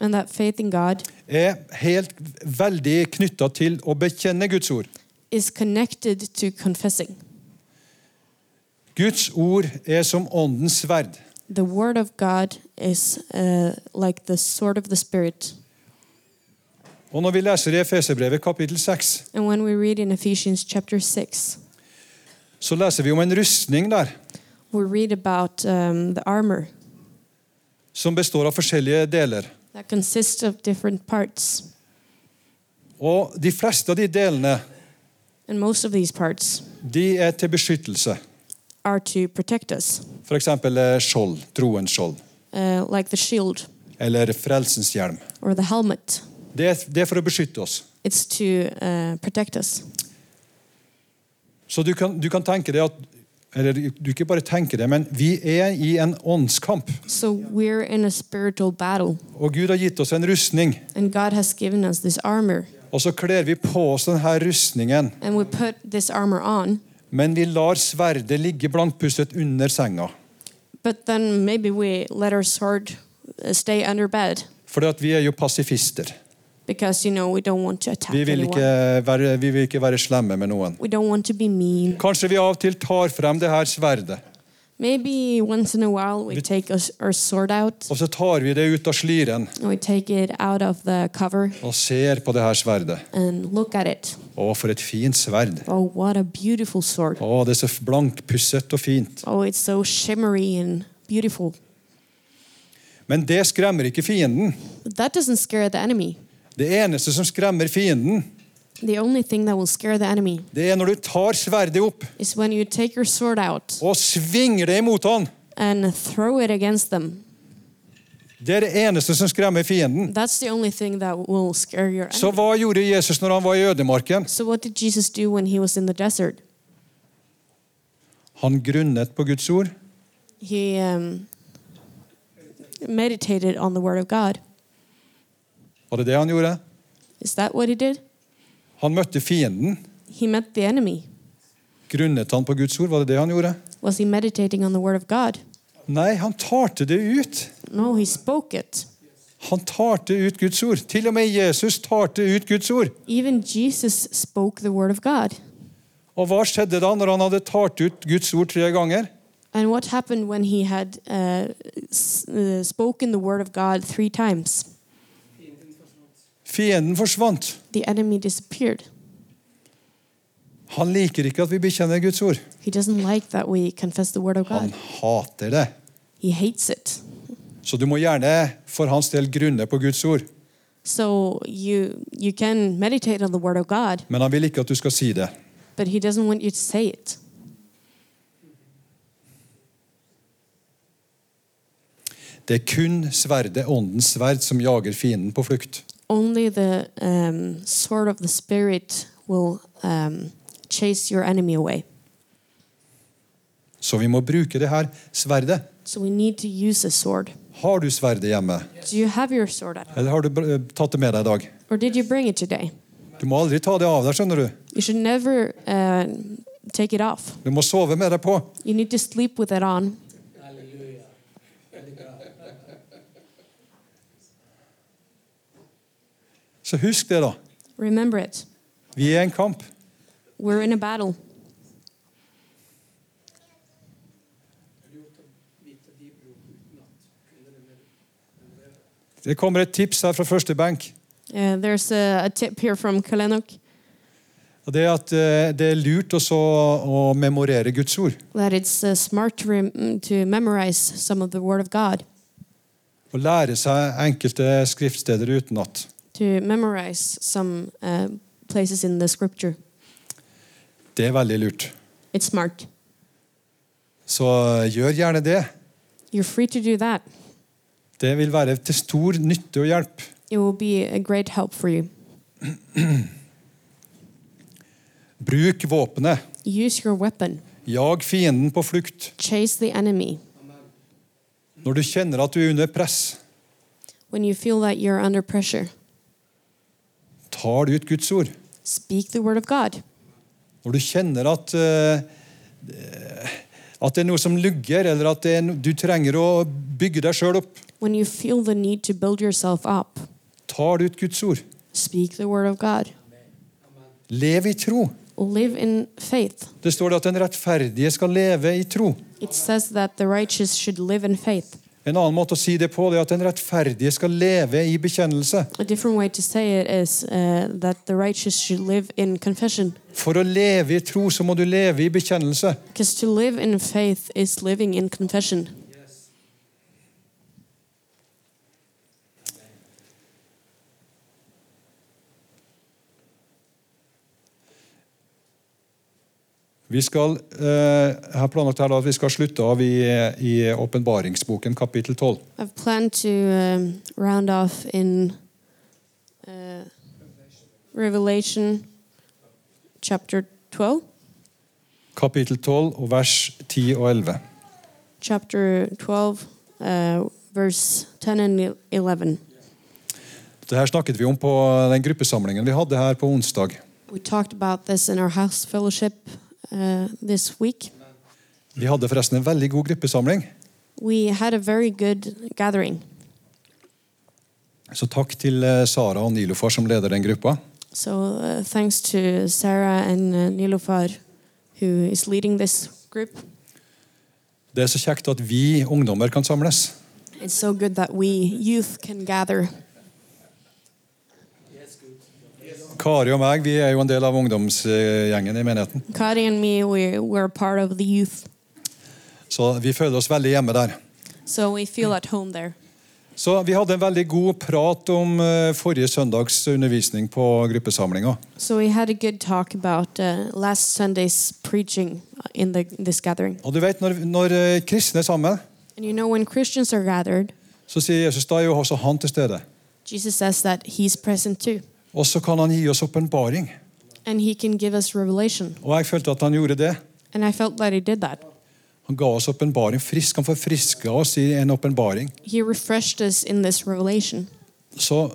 Speaker 3: and that faith in God
Speaker 2: er helt veldig knytta til å bekjenne Guds ord.
Speaker 3: is connected to confessing.
Speaker 2: Guds ord er som åndens sverd.
Speaker 3: The word of God is uh, like the sword of the spirit.
Speaker 2: Og når vi leser i Efeserbrevet kapittel 6,
Speaker 3: And when we read in Ephesians chapter 6,
Speaker 2: så leser vi om en rustning der
Speaker 3: we read about um, the armor
Speaker 2: som består av forskjellige deler.
Speaker 3: that consists of different parts.
Speaker 2: Og de fleste av de delene
Speaker 3: And most of these parts
Speaker 2: de er til beskyttelse.
Speaker 3: are to protect us,
Speaker 2: F.eks. skjold, troens skjold,
Speaker 3: uh, like the shield
Speaker 2: eller frelsens hjelm.
Speaker 3: or the helmet.
Speaker 2: Det er, det er for å beskytte oss.
Speaker 3: It's to uh, protect us.
Speaker 2: Så du kan, du kan tenke det at eller du ikke bare tenke det, men vi er i en åndskamp.
Speaker 3: So we're in a spiritual battle,
Speaker 2: Og Gud har gitt oss en rustning.
Speaker 3: and God has given us this armor.
Speaker 2: Og så kler vi på oss denne rustningen,
Speaker 3: And we put this armor on,
Speaker 2: men vi lar sverdet ligge blankpustet under senga.
Speaker 3: but then maybe we let our sword uh, stay under bed
Speaker 2: For vi er jo pasifister.
Speaker 3: because, you know, we don't want to attack
Speaker 2: Vi vil,
Speaker 3: anyone.
Speaker 2: ikke være, vi vil ikke være slemme med noen.
Speaker 3: We don't want to be mean.
Speaker 2: Kanskje vi av og til tar frem det her sverdet,
Speaker 3: Maybe once in a while we take us, our sword out
Speaker 2: og så tar vi det ut av sliren
Speaker 3: and we take it out of the cover
Speaker 2: og ser på det her sverdet.
Speaker 3: and look at it.
Speaker 2: Å, for et fint sverd.
Speaker 3: Oh, what a beautiful sword.
Speaker 2: Å, det er så blankpusset og fint.
Speaker 3: Oh, it's so shimmery and beautiful.
Speaker 2: Men det skremmer ikke fienden.
Speaker 3: But that doesn't scare the enemy.
Speaker 2: Det eneste som skremmer fienden,
Speaker 3: The only thing that will scare the enemy
Speaker 2: det er når du tar sverdet opp
Speaker 3: is when you take your sword out
Speaker 2: og svinger det imot han.
Speaker 3: and throw it against them.
Speaker 2: Det er det eneste som skremmer fienden.
Speaker 3: That's the only thing that will scare your
Speaker 2: Så
Speaker 3: enemy.
Speaker 2: hva gjorde Jesus når han var i ødemarken?
Speaker 3: So, what did Jesus do when he was in the desert?
Speaker 2: Han grunnet på Guds ord.
Speaker 3: He um, meditated on the word of God.
Speaker 2: Var det det han gjorde?
Speaker 3: Is that what he did?
Speaker 2: Han møtte fienden.
Speaker 3: He met the enemy.
Speaker 2: Grunnet han på Guds ord? Var det det han gjorde?
Speaker 3: Was he meditating on the word of God?
Speaker 2: Nei, han talte det ut.
Speaker 3: No, he spoke it.
Speaker 2: Han talte ut Guds ord. Til og med Jesus talte ut Guds ord.
Speaker 3: Even Jesus spoke the word of God.
Speaker 2: Og hva skjedde da når han hadde talt ut Guds ord tre ganger?
Speaker 3: And what happened when he had uh, s- uh, spoken the word of God three times?
Speaker 2: Fienden forsvant.
Speaker 3: The enemy disappeared.
Speaker 2: Han liker ikke at vi bekjenner Guds ord.
Speaker 3: He doesn't like that we confess the word of
Speaker 2: Han
Speaker 3: God.
Speaker 2: hater det.
Speaker 3: He hates it.
Speaker 2: Så du må gjerne for hans del grunne på Guds ord.
Speaker 3: So you you can meditate on the word of God,
Speaker 2: Men han vil ikke at du skal si det.
Speaker 3: but he doesn't want you to say it.
Speaker 2: Det er kun sverdet, åndens sverd, som jager fienden på flukt.
Speaker 3: Only the um, sword of the spirit will um, chase your enemy away.
Speaker 2: Så vi må bruke det her sverdet.
Speaker 3: So we need to use a sword.
Speaker 2: Har du sverdet hjemme?
Speaker 3: Do you have your sword at home?
Speaker 2: Eller har du eh, tatt det med deg i dag?
Speaker 3: Or did you bring it today?
Speaker 2: Du må aldri ta det av deg, skjønner du.
Speaker 3: You should never uh, take it off.
Speaker 2: Du må sove med det på.
Speaker 3: You need to sleep with it on.
Speaker 2: Så husk det, da.
Speaker 3: Remember it.
Speaker 2: Vi er i en kamp.
Speaker 3: We're in a battle.
Speaker 2: Det kommer et tips her fra første benk.
Speaker 3: Uh, there's a, a tip here from Kalenok
Speaker 2: Og det er at eh, det er lurt også å memorere Guds ord.
Speaker 3: that it's uh, smart to, rem- to memorize some of the Word of God,
Speaker 2: Å lære seg enkelte skriftsteder utenat.
Speaker 3: to memorize some uh, places in the Scripture.
Speaker 2: Det er veldig lurt.
Speaker 3: It's smart.
Speaker 2: Så eh, gjør gjerne det.
Speaker 3: You're free to do that.
Speaker 2: Det vil være til stor nytte og hjelp.
Speaker 3: It will be a great help for you.
Speaker 2: Bruk våpenet.
Speaker 3: Use your weapon.
Speaker 2: Jag fienden på flukt.
Speaker 3: Chase the enemy.
Speaker 2: Når du kjenner at du er under press,
Speaker 3: When you feel that you're under pressure,
Speaker 2: tar du ut Guds ord.
Speaker 3: speak the word of God.
Speaker 2: Når du kjenner at eh, at det er noe som lugger, eller at det er no, du trenger å bygge deg sjøl opp,
Speaker 3: When you feel the need to build yourself up,
Speaker 2: tar du ut Guds ord.
Speaker 3: speak the word of God.
Speaker 2: Lev i tro.
Speaker 3: Live in faith.
Speaker 2: Det står det at den rettferdige skal leve i tro.
Speaker 3: It says that the righteous should live in faith.
Speaker 2: En annen måte å si det på det er at den rettferdige skal leve i bekjennelse.
Speaker 3: A different way to say it is uh, that the righteous should live in confession.
Speaker 2: For å leve i tro så må du leve i bekjennelse.
Speaker 3: Because to live in faith is living in confession.
Speaker 2: Vi skal, eh, jeg har planlagt her da at vi skal slutte av i i åpenbaringsboken kapittel 12.
Speaker 3: I've planned to um, round off in uh, Revelation chapter 12.
Speaker 2: Kapittel 12 og vers 10 og 11.
Speaker 3: Chapter 12, uh, verse 10 and 11.
Speaker 2: Det her snakket vi om på den gruppesamlingen vi hadde her på onsdag.
Speaker 3: We talked about this in our house fellowship uh, this week.
Speaker 2: Vi hadde forresten en veldig god gruppesamling,
Speaker 3: We had a very good gathering.
Speaker 2: så takk til eh, Sara og Nilofar som leder den gruppa.
Speaker 3: So uh, thanks to Sarah and uh, Nilofar, who is leading this group.
Speaker 2: Det er så kjekt at vi ungdommer kan samles.
Speaker 3: It's so good that we youth can gather.
Speaker 2: Kari og meg vi er jo en del av ungdomsgjengen i menigheten,
Speaker 3: Kari and me, we were part of the youth,
Speaker 2: så vi føler oss veldig hjemme der.
Speaker 3: so we feel at home there.
Speaker 2: Så Vi hadde en veldig god prat om eh, forrige søndags undervisning på gruppesamlinga.
Speaker 3: So we had a good talk about uh, last Sunday's preaching uh, in the, this gathering.
Speaker 2: Og du vet, Når, når eh, kristne er sammen,
Speaker 3: And you know, when Christians are gathered,
Speaker 2: så sier Jesus da er jo også han til stede.
Speaker 3: Jesus says that He's present too,
Speaker 2: Og så kan han gi oss åpenbaring.
Speaker 3: and He can give us revelation.
Speaker 2: Og jeg følte at han gjorde det.
Speaker 3: And I felt that He did that.
Speaker 2: Han ga oss åpenbaring frisk. Han forfriska oss i en åpenbaring.
Speaker 3: He refreshed us in this revelation.
Speaker 2: Så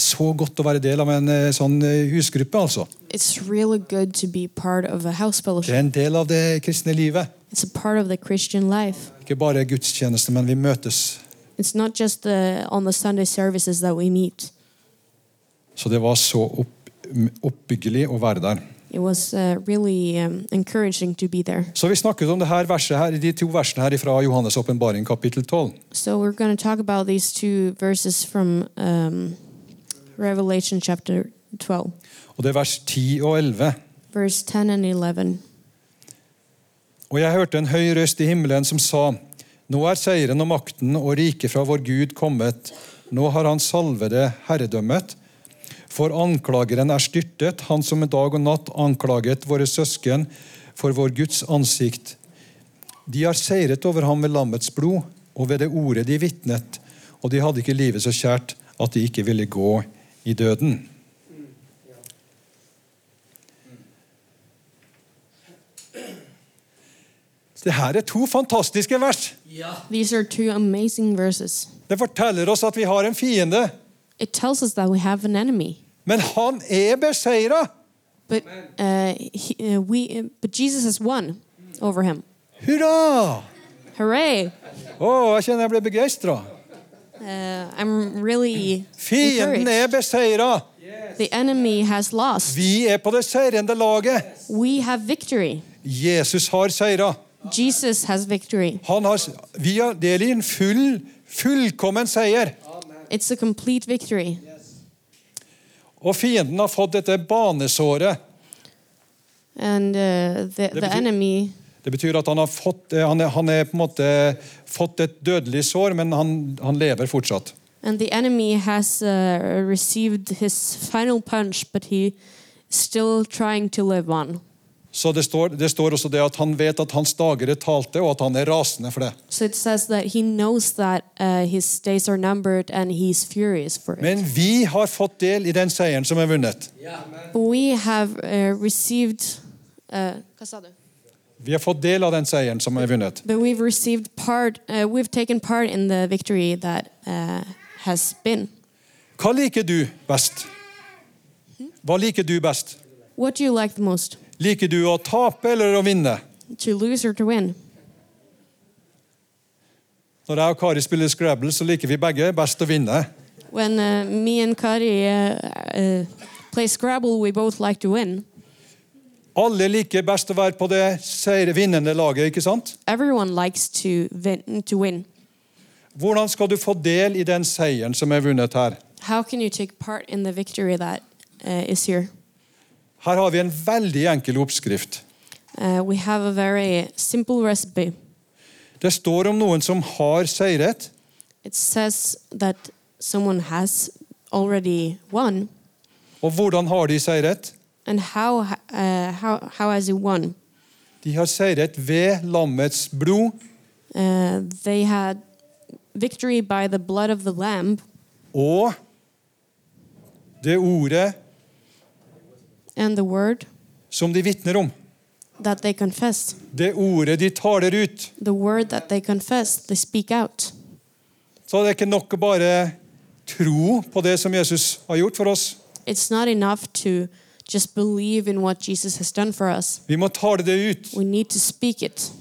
Speaker 2: Så godt å være del av en eh, sånn eh, husgruppe, altså.
Speaker 3: It's really good to be part of a house
Speaker 2: Det er
Speaker 3: fellowship.
Speaker 2: en del av det kristne livet.
Speaker 3: It's a part of the Christian life.
Speaker 2: Ikke bare gudstjeneste, men vi møtes.
Speaker 3: It's not just the, on the Sunday services that we meet.
Speaker 2: Så det var så opp, oppbyggelig å være der.
Speaker 3: It was uh, really um, encouraging to be there.
Speaker 2: Så vi snakket om det her verset her, de to versene her fra Johannes' åpenbaring, kapittel 12.
Speaker 3: So we're going to talk about these two verses from um, Revelation chapter 12,
Speaker 2: Og det er vers 10 og 11.
Speaker 3: verse 10 and 11.
Speaker 2: Og jeg hørte en høy røst i himmelen som sa, Nå er seieren og makten og riket fra vår Gud kommet. Nå har han salvede herredømmet. For anklageren er styrtet, han som en dag og natt anklaget våre søsken for vår Guds ansikt. De har seiret over ham ved lammets blod og ved det ordet de vitnet, og de hadde ikke livet så kjært at de ikke ville gå i døden. Det her er to fantastiske vers.
Speaker 3: These are two amazing verses.
Speaker 2: Det forteller oss at vi har en fiende,
Speaker 3: It tells us that we have an enemy,
Speaker 2: men han er beseira.
Speaker 3: but uh, he, uh, we, uh, but Jesus has won over him.
Speaker 2: Hurra!
Speaker 3: Hooray!
Speaker 2: Å, jeg kjenner jeg ble begeistra.
Speaker 3: Uh, I'm really
Speaker 2: Fienden
Speaker 3: encouraged.
Speaker 2: er beseira.
Speaker 3: The enemy has lost.
Speaker 2: Vi er på det seirende laget.
Speaker 3: We have victory.
Speaker 2: Jesus har seira.
Speaker 3: Jesus has victory.
Speaker 2: Han har, vi har del i en full, fullkommen seier.
Speaker 3: It's a complete victory.
Speaker 2: Og fienden har fått dette banesåret.
Speaker 3: And uh, the, the
Speaker 2: betyr-
Speaker 3: enemy,
Speaker 2: Det betyr at han har fått, eh, han er, han er på en måte fått et dødelig sår, men han, han lever fortsatt.
Speaker 3: and the enemy has uh, received his final punch, but he still trying to live on.
Speaker 2: Så det står, det står også det at han vet at hans dager er talte, og at han er rasende for det.
Speaker 3: So it says that he knows that uh, his days are numbered and he's furious for it.
Speaker 2: Men vi har fått del i den seieren som er vunnet.
Speaker 3: But we have uh, received. Uh,
Speaker 2: Vi har fått del av den seieren som er vunnet.
Speaker 3: but we've received part. Uh, we've taken part in the victory that uh, has been.
Speaker 2: Hva liker du best? Hva liker du best?
Speaker 3: What do you like the most?
Speaker 2: Liker du å tape eller å vinne?
Speaker 3: To lose or to win?
Speaker 2: Når jeg og Kari spiller Scrabble, så liker vi begge best å vinne.
Speaker 3: When uh, me and Kari uh, uh, play Scrabble, we both like to win.
Speaker 2: Alle liker best å være på det seier- vinnende laget, ikke sant?
Speaker 3: Everyone likes to win. To win.
Speaker 2: Hvordan skal du få del i den seieren som er vunnet her?
Speaker 3: How can you take part in the victory that uh, is here?
Speaker 2: Her har vi en veldig enkel oppskrift.
Speaker 3: Uh, we have a very simple recipe.
Speaker 2: Det står om noen som har seiret,
Speaker 3: It says that someone has already won,
Speaker 2: og hvordan har de seiret?
Speaker 3: and how ha- uh, how how has he won?
Speaker 2: De har seiret ved lammets blod
Speaker 3: Uh, they had victory by the blood of the lamb
Speaker 2: og det ordet
Speaker 3: and the word
Speaker 2: som de vitner om.
Speaker 3: that they confess.
Speaker 2: Det ordet de taler ut.
Speaker 3: The word that they confess, they speak out.
Speaker 2: Så det er ikke nok å bare tro på det som Jesus har gjort for oss.
Speaker 3: It's not enough to just believe in what Jesus has done for us.
Speaker 2: Vi må tale det ut.
Speaker 3: We need to speak it.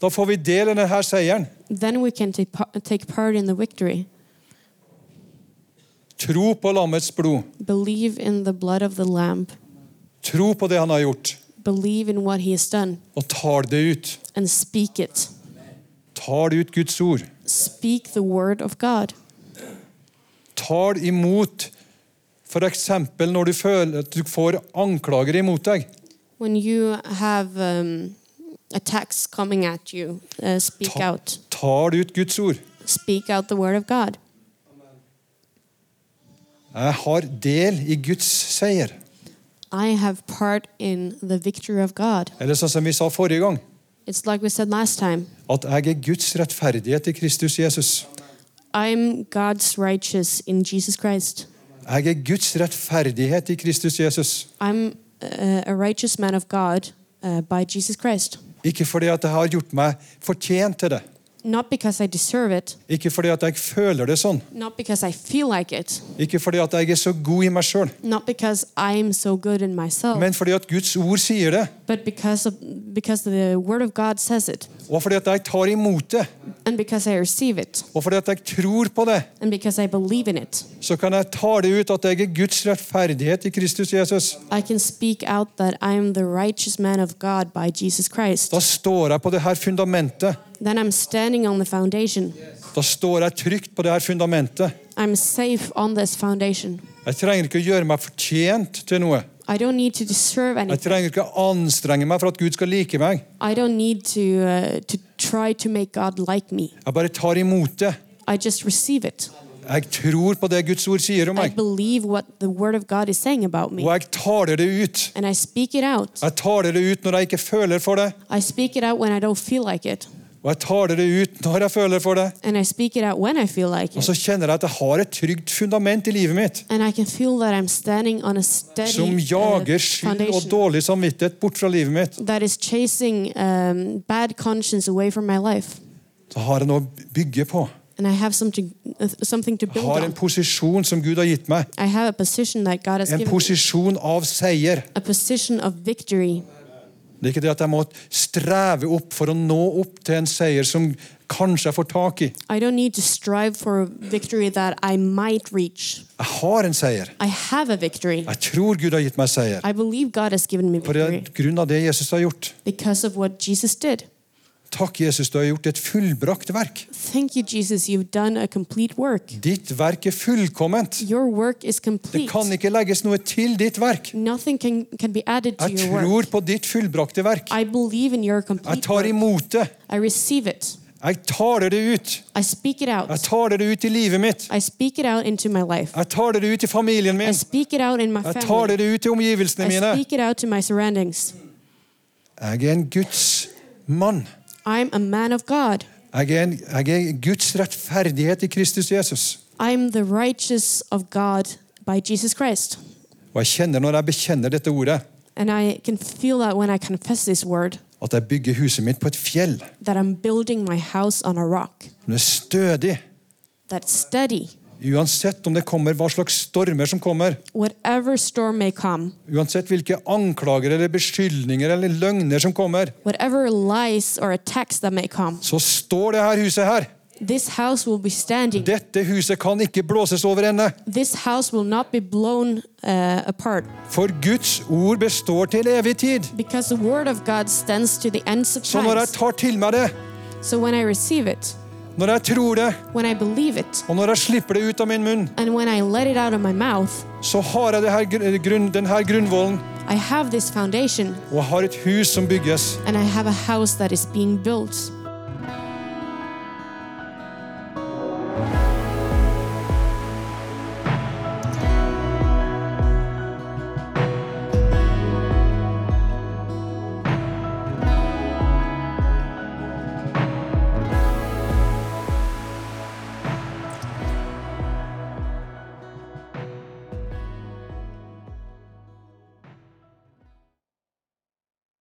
Speaker 2: Da får vi del i denne seieren.
Speaker 3: Then we can take, pa- take part in the victory.
Speaker 2: Tro på lammets blod.
Speaker 3: Believe in the blood of the lamb.
Speaker 2: Tro på det han har gjort,
Speaker 3: Believe in what he has done
Speaker 2: og tal det ut.
Speaker 3: and speak it.
Speaker 2: Tal ut Guds ord.
Speaker 3: Speak the word of God.
Speaker 2: Tal imot f.eks. når du føler at du får anklager imot deg.
Speaker 3: When you have um, attacks coming at you, uh, speak
Speaker 2: Ta-
Speaker 3: out.
Speaker 2: Tal ut Guds ord.
Speaker 3: Speak out the word of God.
Speaker 2: Jeg har del i Guds seier.
Speaker 3: I have part in the victory of God.
Speaker 2: Eller sånn som vi sa forrige gang,
Speaker 3: It's like we said last time
Speaker 2: at jeg er Guds rettferdighet i Kristus Jesus.
Speaker 3: I'm God's righteous in Jesus Christ.
Speaker 2: Jeg er Guds rettferdighet i Kristus Jesus.
Speaker 3: I'm uh, a righteous man of God uh, by Jesus Christ.
Speaker 2: Ikke fordi at jeg har gjort meg fortjent til det.
Speaker 3: Not because I deserve it,
Speaker 2: Ikke fordi at jeg føler det sånn.
Speaker 3: not because I feel like it,
Speaker 2: Ikke fordi at jeg er så god i meg sjøl.
Speaker 3: not because I'm so good in myself,
Speaker 2: Men fordi at Guds ord sier det,
Speaker 3: but because, of, because the word of God says it.
Speaker 2: og fordi at jeg tar imot det,
Speaker 3: And because I receive it,
Speaker 2: og fordi at jeg tror på det,
Speaker 3: and because I believe in it,
Speaker 2: så kan jeg tale ut at jeg er Guds rettferdighet i Kristus Jesus.
Speaker 3: I can speak out that I'm the righteous man of God by Jesus Christ.
Speaker 2: Da står jeg på det her fundamentet.
Speaker 3: Then I'm standing on the foundation.
Speaker 2: Da står jeg trygt på det her fundamentet.
Speaker 3: I'm safe on this foundation.
Speaker 2: Jeg trenger ikke å gjøre meg fortjent til noe.
Speaker 3: I don't need to deserve
Speaker 2: Jeg
Speaker 3: anything.
Speaker 2: trenger ikke å anstrenge meg for at Gud skal like meg.
Speaker 3: I don't need to uh, to try to make God like me.
Speaker 2: Jeg bare tar imot det.
Speaker 3: I just receive it.
Speaker 2: Jeg tror på det Guds ord sier om
Speaker 3: I
Speaker 2: meg.
Speaker 3: believe what the Word of God is saying about
Speaker 2: Og
Speaker 3: me,
Speaker 2: jeg taler det ut.
Speaker 3: and I speak it out.
Speaker 2: Jeg taler det ut når jeg ikke føler for det,
Speaker 3: I speak it out when I don't feel like it,
Speaker 2: og jeg taler det ut når jeg føler for det.
Speaker 3: and I speak it out when I feel like
Speaker 2: Og så
Speaker 3: it.
Speaker 2: kjenner jeg at jeg har et trygt fundament i livet mitt
Speaker 3: And I can feel that I'm standing on a
Speaker 2: som
Speaker 3: steady uh,
Speaker 2: jager skyld og
Speaker 3: foundation
Speaker 2: dårlig samvittighet bort fra livet mitt.
Speaker 3: that is chasing um, bad conscience away from my life.
Speaker 2: Så har jeg noe å bygge på.
Speaker 3: And I have something, uh, something to
Speaker 2: Jeg
Speaker 3: build
Speaker 2: har en
Speaker 3: on.
Speaker 2: posisjon som Gud har gitt meg.
Speaker 3: I have a position that God has
Speaker 2: En
Speaker 3: given me,
Speaker 2: posisjon av seier.
Speaker 3: a position of victory.
Speaker 2: Det er ikke det at jeg må streve opp for å nå opp til en seier som kanskje jeg får tak i.
Speaker 3: I don't need to strive for a victory that I might reach.
Speaker 2: Jeg har en seier.
Speaker 3: I have a victory.
Speaker 2: Jeg tror Gud har gitt meg seier.
Speaker 3: I believe God has given me
Speaker 2: På
Speaker 3: victory
Speaker 2: grunn av det Jesus har gjort.
Speaker 3: because of what Jesus did.
Speaker 2: Takk, Jesus, du har gjort et fullbrakt verk.
Speaker 3: Thank you, Jesus. You've done a complete work.
Speaker 2: Ditt verk er fullkomment.
Speaker 3: Your work is
Speaker 2: Det
Speaker 3: complete.
Speaker 2: kan ikke legges noe til ditt verk.
Speaker 3: Nothing can, can be added to
Speaker 2: Jeg
Speaker 3: your
Speaker 2: tror
Speaker 3: work.
Speaker 2: på ditt fullbrakte verk.
Speaker 3: I believe in your
Speaker 2: Jeg
Speaker 3: complete
Speaker 2: tar
Speaker 3: work.
Speaker 2: imot det.
Speaker 3: I receive it.
Speaker 2: Jeg taler det ut.
Speaker 3: I speak it
Speaker 2: Jeg
Speaker 3: out.
Speaker 2: taler det ut i livet mitt.
Speaker 3: I speak it out into my life.
Speaker 2: Jeg taler det ut i familien
Speaker 3: I
Speaker 2: min.
Speaker 3: speak it out in my
Speaker 2: Jeg taler
Speaker 3: family.
Speaker 2: det ut i omgivelsene mine.
Speaker 3: I speak it out to my surroundings.
Speaker 2: Jeg er en Guds mann.
Speaker 3: I'm a man of God.
Speaker 2: Jeg er, en, jeg er Guds rettferdighet i Kristus Jesus.
Speaker 3: I'm the righteous of God by Jesus Christ.
Speaker 2: Og jeg kjenner når jeg bekjenner dette ordet,
Speaker 3: And I can feel that when I confess this word,
Speaker 2: at jeg bygger huset mitt på et fjell.
Speaker 3: that I'm building my house on a rock
Speaker 2: Det er stødig.
Speaker 3: that's steady.
Speaker 2: Uansett om det kommer hva slags stormer som kommer,
Speaker 3: Whatever storm may come,
Speaker 2: uansett hvilke anklager eller beskyldninger eller løgner som kommer,
Speaker 3: whatever lies or attacks that may come,
Speaker 2: så står det her huset her.
Speaker 3: this house will be standing.
Speaker 2: Dette huset kan ikke blåses over ende.
Speaker 3: This house will not be blown uh, apart
Speaker 2: For Guds ord består til evig tid.
Speaker 3: because the word of God stands to the ends of
Speaker 2: Så når jeg
Speaker 3: times.
Speaker 2: tar til meg det,
Speaker 3: So when I receive it,
Speaker 2: når jeg tror det,
Speaker 3: when I believe it,
Speaker 2: og når jeg slipper det ut av min munn,
Speaker 3: and when I let it out of my mouth,
Speaker 2: så har jeg det her, gr- grunn, den her grunnvollen,
Speaker 3: I have this foundation
Speaker 2: og jeg har et hus som bygges.
Speaker 3: and I have a house that is being built.